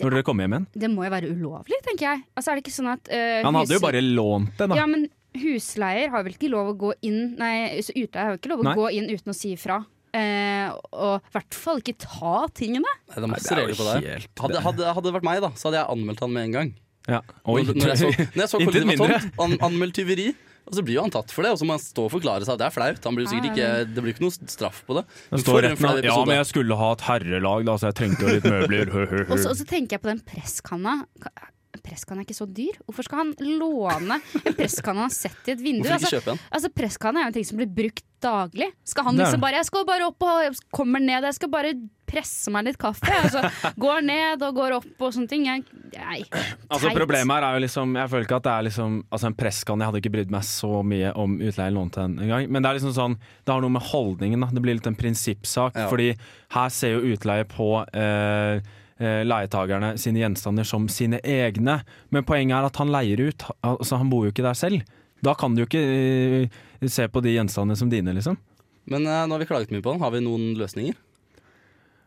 S4: når dere kommer hjem igjen.
S3: Det må jo være ulovlig, tenker jeg. Altså er det ikke sånn at eh,
S4: Han hadde jo
S3: hus-
S4: bare lånt det, da.
S3: Ja, men husleier har vel ikke lov å gå inn Nei, så utleier har jo ikke lov å
S4: Nei.
S3: gå inn uten å si ifra. Eh, og i hvert fall ikke ta tingene.
S1: Nei, Det er masse
S4: det er jo
S1: regler på det. her.
S4: helt-
S1: Hadde, hadde, hadde det vært meg, da, så hadde jeg anmeldt han med en gang.
S4: Ja. Oi.
S1: Når, når jeg så, når jeg så
S4: Intet
S1: kollektivet
S4: mindre.
S1: var tomt, an, anmeldt tyveri. Og så blir jo han tatt for det, og så må han stå og forklare seg. Det er flaut. Han blir jo sikkert ikke, det blir ikke noe straff på det.
S4: Det
S1: Men
S4: står
S1: for en
S4: retten av,
S1: flau
S4: ja,
S1: episode.
S4: men jeg skulle ha et herrelag, da, så jeg trengte jo litt møbler. Hø, hø, hø.
S3: Og så, og så tenker jeg på den presskanna. Ka- Presskanna er ikke så dyr. Hvorfor skal han låne en presskanne han har sett i et vindu?
S1: Hvorfor ikke
S3: Altså,
S1: kjøpe en?
S3: altså Presskanne er jo en ting som blir brukt daglig. Skal han
S4: Det er det.
S3: liksom bare 'Jeg skal bare opp og kommer ned, jeg skal bare presse meg litt kaffe'. Og så går ned og går opp og sånne ting. Jeg Nei.
S4: Altså
S3: Teit.
S4: Problemet her er jo liksom Jeg føler ikke at det er liksom Altså en presskan Jeg hadde ikke brydd meg så mye om utleie eller lån til den engang. Men det er liksom sånn Det har noe med holdningen da Det blir litt en prinsippsak.
S1: Ja.
S4: Fordi her ser jo utleie på eh, eh, leietagerne sine gjenstander som sine egne. Men poenget er at han leier ut. Altså Han bor jo ikke der selv. Da kan du jo ikke eh, se på de gjenstandene som dine, liksom.
S1: Men eh, nå har vi klaget mye på den. Har vi noen løsninger?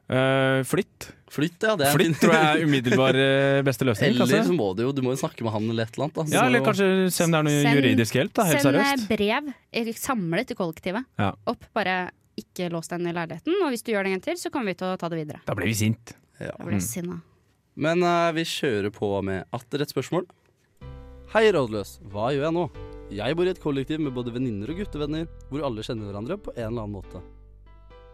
S4: Eh, flytt.
S1: Flytt, ja. Det er en
S4: Flytt
S1: fin-
S4: tror jeg er umiddelbar eh, beste løsning.
S1: Eller så
S4: kanskje.
S1: må du jo Du må jo snakke med han eller et eller annet. Da.
S4: Ja,
S1: Så-
S4: eller kanskje se om det er noe
S3: Send-
S4: juridisk hjelp, da. Helt
S3: Send eh,
S4: seriøst.
S3: brev eh, samlet til kollektivet.
S4: Ja.
S3: Opp, bare ikke lås den i leiligheten. Og hvis du gjør det en gang til, så kommer vi til å ta det videre.
S4: Da blir vi sint.
S3: Da blir jeg
S4: Mm.
S3: sinna.
S1: Men eh, vi kjører på med atter et spørsmål. Hei, rådløs. Hva gjør jeg nå? Jeg bor i et kollektiv med både venninner og guttevenner, hvor alle kjenner hverandre på en eller annen måte.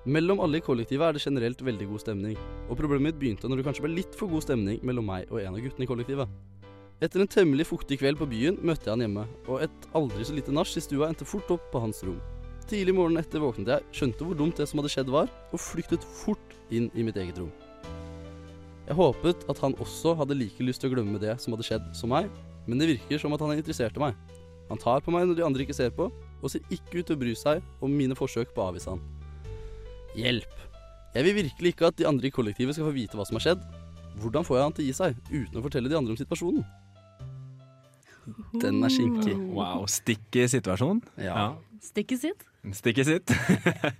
S1: Mellom alle i kollektivet er det generelt veldig god stemning, og problemet mitt begynte når det kanskje ble litt for god stemning mellom meg og en av guttene i kollektivet. Etter en temmelig fuktig kveld på byen møtte jeg han hjemme, og et aldri så lite nach i stua endte fort opp på hans rom. Tidlig morgenen etter våknet jeg, skjønte hvor dumt det som hadde skjedd var, og flyktet fort inn i mitt eget rom. Jeg håpet at han også hadde like lyst til å glemme det som hadde skjedd som meg, men det virker som at han er interessert i meg. Han tar på meg når de andre ikke ser på, og ser ikke ut til å bry seg om mine forsøk på å avvise han. Hjelp! Jeg vil virkelig ikke at de andre i kollektivet skal få vite hva som har skjedd. Hvordan får jeg han til å gi seg, uten å fortelle de andre om situasjonen? Den er skinkig.
S4: Wow, stikk i situasjonen.
S1: Ja.
S3: Stikket sitt.
S4: Stikk i sitt.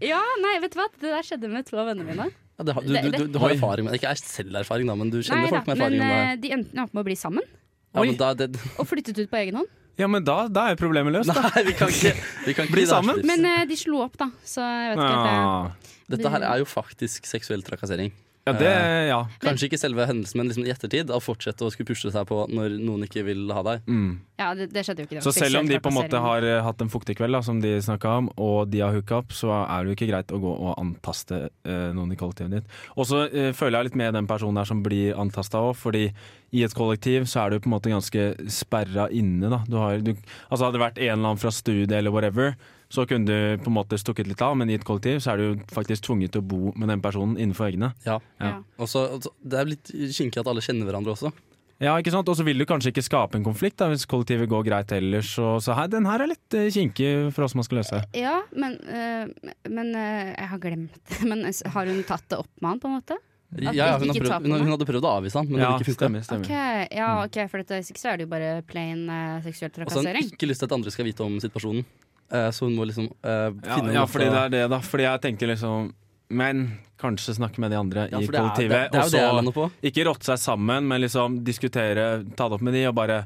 S3: Ja, nei, vet du hva? Det der skjedde med to av vennene mine.
S1: ja det, har- du, du, du, du har erfaring med det. Ikke er selv erfaring, da, men du kjenner
S3: Nei da,
S1: folk med
S3: men
S1: erfaring om det.
S3: eh, de endte opp med å bli sammen.
S1: Ja, men da, det
S3: Og flyttet ut på egen hånd.
S4: Ja, men da, da er jo problemet løst, da.
S1: Nei, vi kan ikke, vi kan ikke
S4: Bli
S1: gi det her
S4: sammen.
S1: slips.
S3: Men eh, de slo opp, da. Så jeg vet ikke helt. eh,
S4: Ja,
S1: Dette her er jo faktisk seksuell trakassering.
S4: ja det Ja.
S1: Kanskje ikke selve hendelsen, men liksom i ettertid. Å fortsette å skulle pushe seg på når noen ikke vil ha deg.
S4: Mm.
S3: Ja, det, det skjedde jo ikke. det var
S4: Så selv om
S3: seksuell
S4: de på en måte
S3: trakassering.
S4: har eh, hatt en fuktig kveld, da, som de snakka om, og de har hooka opp, så er det jo ikke greit å gå og antaste eh, noen i kollektivet ditt. Og så eh, føler jeg litt med den personen der som blir antasta òg, fordi i et kollektiv så er du på en måte ganske sperra inne, da. Du har, du, altså hadde det vært en eller annen fra studiet eller whatever, så kunne du på en måte stukket litt av, men i et kollektiv så er du jo faktisk tvunget til å bo med den personen innenfor eggene.
S1: Ja.
S4: Ja.
S3: Ja.
S1: Og så, og så- det er litt kinkig at alle kjenner hverandre også.
S4: Ja, ikke sant? Og så vil du kanskje ikke skape en konflikt da, hvis kollektivet går greit ellers. Og så her, den her er litt eh, kinkig for oss man skal løse.
S3: Ja, men, eh, men eh, jeg har glemt det. Men eh, s- har hun tatt det opp med han, på en måte?
S1: Ja,
S3: At
S1: ja,
S3: de
S1: hun, har
S3: ikke tar
S1: prøvd,
S3: på
S1: hun,
S3: meg?
S1: hun hadde prøvd å avvise han, men det
S4: ja,
S1: ville ikke funke.
S4: stemmer, stemmer.
S3: Ok, ja, ok, for dette, hvis ikke så er det jo bare plain eh, seksuell
S1: Og så
S4: sånn
S1: har hun
S3: trakassering.
S1: ikke lyst til at andre skal vite om situasjonen. Eh, Så hun må liksom eh,
S4: Ja,
S1: finne en
S4: ja,
S1: måte
S4: fordi
S1: å-
S4: det er det, da. Fordi jeg tenkte liksom Men kanskje snakke med de andre
S1: Ja,
S4: i
S1: for det er-
S4: kollektivet.
S1: Det, det er jo det jeg lander
S4: og
S1: på.
S4: så ikke rotte seg sammen, men liksom diskutere, ta det opp med de og bare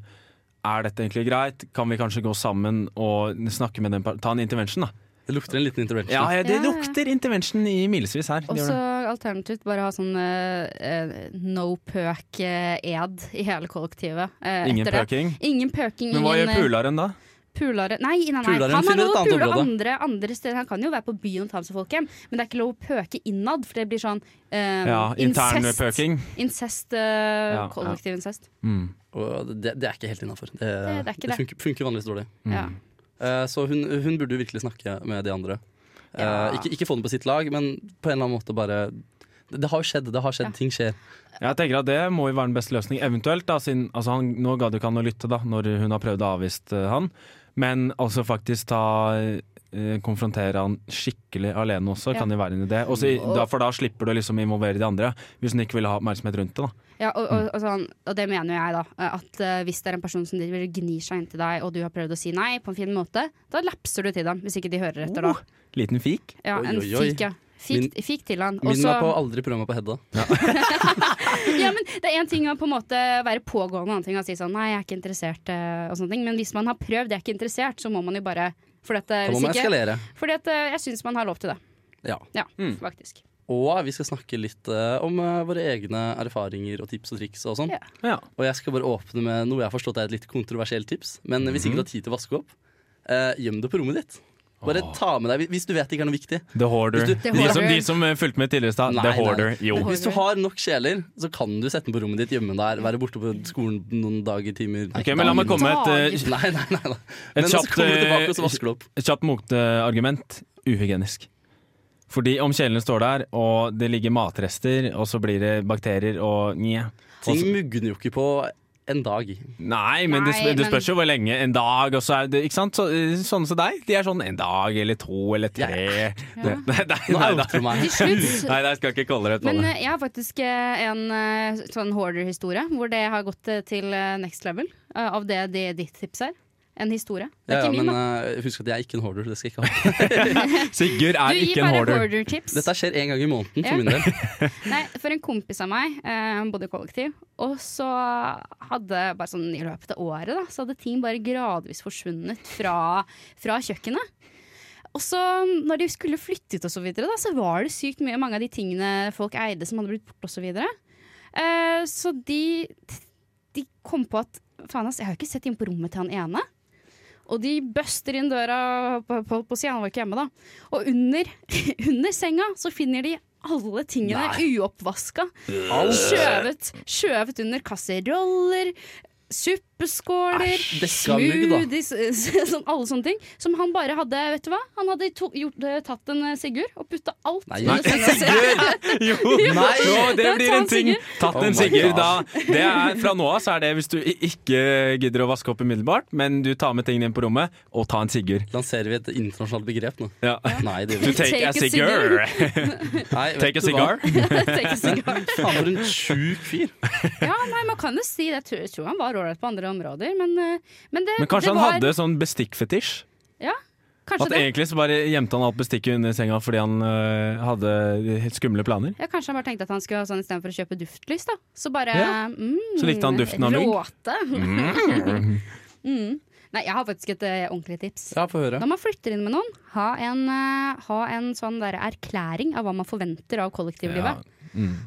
S4: Er dette egentlig greit? Kan vi kanskje gå sammen og snakke med den par- Ta en intervention, da.
S1: Det lukter en liten intervention.
S4: Ja, ja, det
S3: Ja.
S4: lukter intervention i milevis her.
S3: Og
S4: Det gjør
S3: så
S4: det.
S3: alternativt bare ha sånn eh, eh, no pøk-ed i hele kollektivet. eh,
S4: Ingen
S3: etter det.
S4: pøking.
S3: Ingen pøking.
S4: Men hva
S3: ingen,
S4: gjør
S3: eh,
S4: pularen da?
S3: Pulare Nei, nei, nei.
S1: Pularen
S3: han har
S1: finner
S3: lov
S1: et
S3: å
S1: annet
S3: pule
S1: område.
S3: andre, andre steder. Han kan jo være på byen og ta med seg folk hjem, men det er ikke lov å pøke innad, for det blir sånn eh,
S4: Ja, intern
S3: incest.
S4: pøking.
S3: Incest. eh,
S4: ja.
S3: kollektiv incest.
S4: Mm.
S1: Og det, det er ikke helt innafor. Det,
S3: det er ikke det.
S1: funker, funker vanligvis dårlig.
S3: Ja.
S1: Eh, Så hun, hun burde jo virkelig snakke med de andre. Eh,
S3: Ja.
S1: Ikke, ikke få den på sitt lag, men på en eller annen måte bare Det, det har jo skjedd, det har skjedd,
S3: Ja.
S1: ting skjer.
S4: Jeg tenker at Det må jo være den beste løsning. Eventuelt, da, siden altså han, Nå gadd jo ikke han å lytte da når hun har prøvd å avvise eh, han, men altså faktisk ta eh, konfrontere han skikkelig alene også,
S3: Ja.
S4: kan jo være en idé. Også, i- da, for da slipper du liksom å involvere de andre, hvis hun ikke vil ha oppmerksomhet rundt det. da
S3: Ja, og,
S1: Mm.
S3: og, og, sånn, og det mener jo jeg, da. At eh, hvis det er en person som driver og gnir seg inntil deg, og du har prøvd å si nei på en fin måte, da lapser du til dem, hvis ikke de hører etter,
S4: Oh,
S3: da.
S4: Liten fik.
S3: Ja,
S1: Oi,
S3: en
S1: oi, oi.
S3: fik, ja. Fik, fik til han. Og
S1: Minn
S3: så-
S1: meg på å aldri prøve meg på Hedda.
S3: ja, men det er én ting å på en måte være pågående, en annen ting å si sånn nei, jeg er ikke interessert, eh, og sånne ting. Men hvis man har prøvd jeg er ikke interessert, så må man jo bare For dette,
S1: Da må
S3: hvis
S1: man
S3: ikke
S1: eskalere. Mm.
S3: Fordi at eh, jeg syns man har lov til det.
S1: Ja.
S3: Ja, faktisk.
S1: Og vi skal snakke litt eh, om eh, våre egne erfaringer og tips og triks og sånn.
S3: Ja.
S4: Ja.
S1: Og jeg skal bare åpne med noe jeg har forstått er et litt kontroversielt tips. Men hvis ikke du har tid til å vaske opp, eh, gjem det på rommet ditt. Bare ta med deg, hvis du vet det ikke er noe viktig.
S4: The Hoarder.
S1: Hvis du-
S4: De som,
S3: The Hoarder.
S4: de som eh, fulgte med tidligere i stad.
S1: Nei,
S4: The
S1: nei, nei.
S4: Hoarder. Jo.
S3: The Hoarder.
S1: Hvis du har nok sjeler, så kan du sette den på rommet ditt, gjemme den der, være borte på skolen noen dager, timer
S4: Ok, men la meg komme med et, eh,
S1: Nei, nei, nei. nei. Men
S4: Et
S1: så
S4: kjapt,
S1: kommer du tilbake, og så
S4: eh,
S1: vasker du opp.
S4: et kjapt motargument. Uhygienisk. Fordi om kjelen står der, og det ligger matrester, og så blir det bakterier og nje.
S1: Ting mugner jo ikke på en dag.
S4: Nei, men
S3: Nei,
S4: det, det
S3: men-
S4: spørs jo hvor lenge. En dag, og så er det Ikke sant? Så, eh, sånne som deg, de er sånn en dag eller to eller tre. Det, nei, nei,
S1: Nå
S4: nei,
S1: outer du meg.
S3: Til slutt
S4: nei, nei, jeg skal ikke kalle det et
S3: Men
S4: vann.
S3: eh, jeg har faktisk eh, en eh, sånn hoarder-historie hvor det har gått eh, til eh, next level eh, av det, det ditt tips er. En historie. Det
S1: Ja,
S3: er
S1: ja,
S3: ikke
S1: men
S3: min, da.
S1: eh, husk at jeg er ikke en hoarder. Det skal jeg ikke ha.
S4: Sigurd
S3: Du
S4: eh, er
S3: gir
S4: ikke en
S3: bare
S4: hoarder.
S3: hoarder-tips.
S1: Dette skjer en gang i måneden for
S3: Ja.
S1: min del.
S3: Nei, for en kompis av meg, eh, han bodde i kollektiv, og så hadde bare sånn i løpet av året, da, så hadde ting bare gradvis forsvunnet fra, fra kjøkkenet. Og så når de skulle flytte ut og så videre, da, så var det sykt mye mange av de tingene folk eide som hadde blitt borte og så videre. Eh, så de, de kom på at faen ass, jeg har jo ikke sett inn på rommet til han ene. Og de bøster inn døra på, på, på siden, han var ikke hjemme da. Og under, under senga så finner de alle tingene uoppvaska. Skjøvet, skjøvet under kasseroller, suppeskåler,
S1: Æsj, det skal mugg, da.
S3: smoothies, sånn, alle sånne ting. Som han bare hadde, vet du hva? Han hadde to, gjort, tatt en eh, Sigurd og putta alt
S1: Nei.
S3: under senga si.
S4: Jo,
S1: Nei.
S4: jo, det
S3: Da
S4: blir
S3: tar
S4: en
S3: han
S4: ting.
S3: Sigurd.
S4: Tatt
S1: Oh my
S4: en Sigurd,
S1: God.
S4: da. Det er, fra nå av så er det hvis du i- ikke gidder å vaske opp umiddelbart, men du tar med tingene inn på rommet, og ta en Sigurd.
S1: Lanserer vi et internasjonalt begrep nå?
S4: Ja.
S1: Nei, det
S4: Du
S1: gjør vi ikke.
S4: take,
S3: Take
S4: a
S3: a
S4: cigar.
S1: Nei, vet du
S4: Take a
S1: hva?
S4: cigar.
S3: Tenk en sigar.
S1: Faen, for en sjuk fyr.
S3: Ja, nei, man kan jo si det. Jeg tror, jeg tror han var ålreit på andre områder, men, eh, men det
S4: Men kanskje han
S3: det var,
S4: hadde sånn bestikkfetisj?
S3: Ja,
S4: At
S3: kanskje det.
S4: egentlig så bare gjemte han alt bestikket under senga fordi han øh, hadde helt skumle planer.
S3: Ja, kanskje han bare tenkte at han skulle ha sånn istedenfor å kjøpe duftlys, da. Så bare
S4: Ja.
S3: mm,
S4: Så likte han duften av mygg.
S3: Råte. mm. Nei, jeg har faktisk et eh, ordentlig tips.
S1: Ja, få høre.
S3: Når man flytter inn med noen, ha en, eh, ha en sånn der erklæring av hva man forventer av kollektivlivet.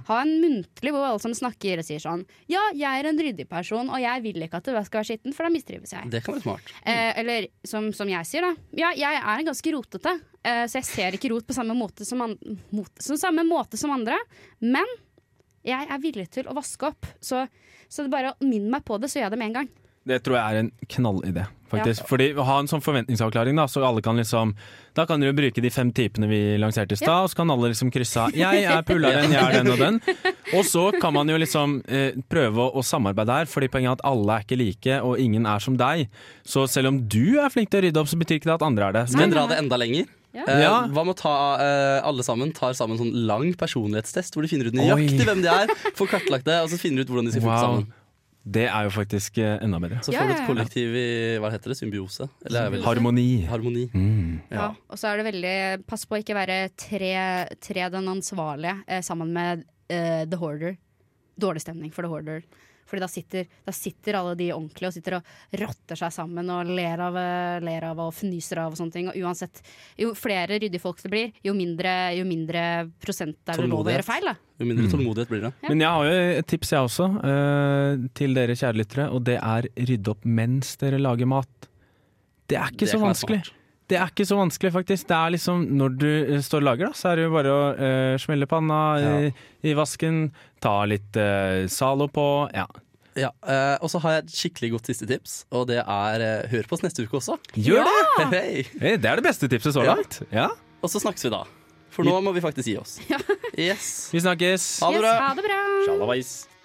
S3: Ha en muntlig hvor alle som snakker og sier sånn Ja, jeg er en ryddig person, og jeg vil ikke at det skal være skitten, for da mistrives jeg.
S1: Det kan være smart.
S3: Eh, eller som, som jeg sier, da. Ja, jeg er ganske rotete, eh, så jeg ser ikke rot på samme måte som, an mot som, samme måte som andre. Men jeg er villig til å vaske opp, så, så det bare minn meg på det, så gjør jeg det med en gang.
S4: Det tror jeg er en knallidé, faktisk. Fordi å ha en sånn forventningsavklaring, da, så alle kan liksom Da kan dere bruke de fem typene vi lanserte i stad, og så kan alle liksom krysse av 'jeg er puleren, jeg er den og den'. Og så kan man jo liksom eh, prøve å, å samarbeide her, fordi poenget er at alle er ikke like, og ingen er som deg. Så selv om du er flink til å rydde opp, så betyr ikke det at andre er det.
S1: Skal jeg dra det enda lenger?
S3: Ja.
S1: Eh,
S4: Ja.
S1: Hva med å ta eh, alle sammen tar sammen sånn lang personlighetstest, hvor de finner ut nøyaktig
S4: Oi.
S1: hvem de er, får kartlagt det, og så finner de ut hvordan de skal funke
S4: Wow.
S1: sammen.
S4: Det er jo faktisk eh, enda bedre.
S1: Så
S3: Ja,
S1: får du
S3: ja, ja.
S1: et kollektiv i hva heter det, symbiose? Eller er det vel
S4: Harmoni. Mm.
S1: harmoni? Ja.
S3: Og så er det veldig Pass på å ikke være tre, tre den ansvarlige eh, sammen med eh, The Hoarder. Dårlig stemning for The Hoarder. Fordi da sitter, da sitter alle de ordentlige og sitter og rotter seg sammen og ler av, eh, ler av og fnyser av og sånne ting. Og uansett, jo flere ryddige folk det blir, jo mindre, jo mindre prosent er det lov å
S1: Tålmodighet.
S3: gjøre feil. Da.
S1: Jo
S4: Mm.
S1: mindre tålmodighet blir det.
S4: Men jeg har jo et tips jeg også, eh, til dere kjære lyttere, og det er rydde opp mens dere lager mat. Det er ikke
S1: Det
S4: så
S1: kan være
S4: vanskelig.
S1: smart.
S4: Det er ikke så vanskelig, faktisk. Det er liksom når du eh, står og lager, da, så er det jo bare å eh, smelle panna i, i vasken, ta litt eh, Zalo på Ja.
S1: Ja, eh, og så har jeg et skikkelig godt siste tips, og det er eh, hør på oss neste uke også.
S4: Gjør det!
S1: Hei.
S4: Hey, det er det beste tipset så
S1: Ja.
S4: langt. Ja.
S1: Og så snakkes vi da. For nå må vi faktisk gi oss. Yes.
S4: Vi snakkes.
S1: Ha det bra.
S3: Yes, ha det bra!
S1: Sjalabais.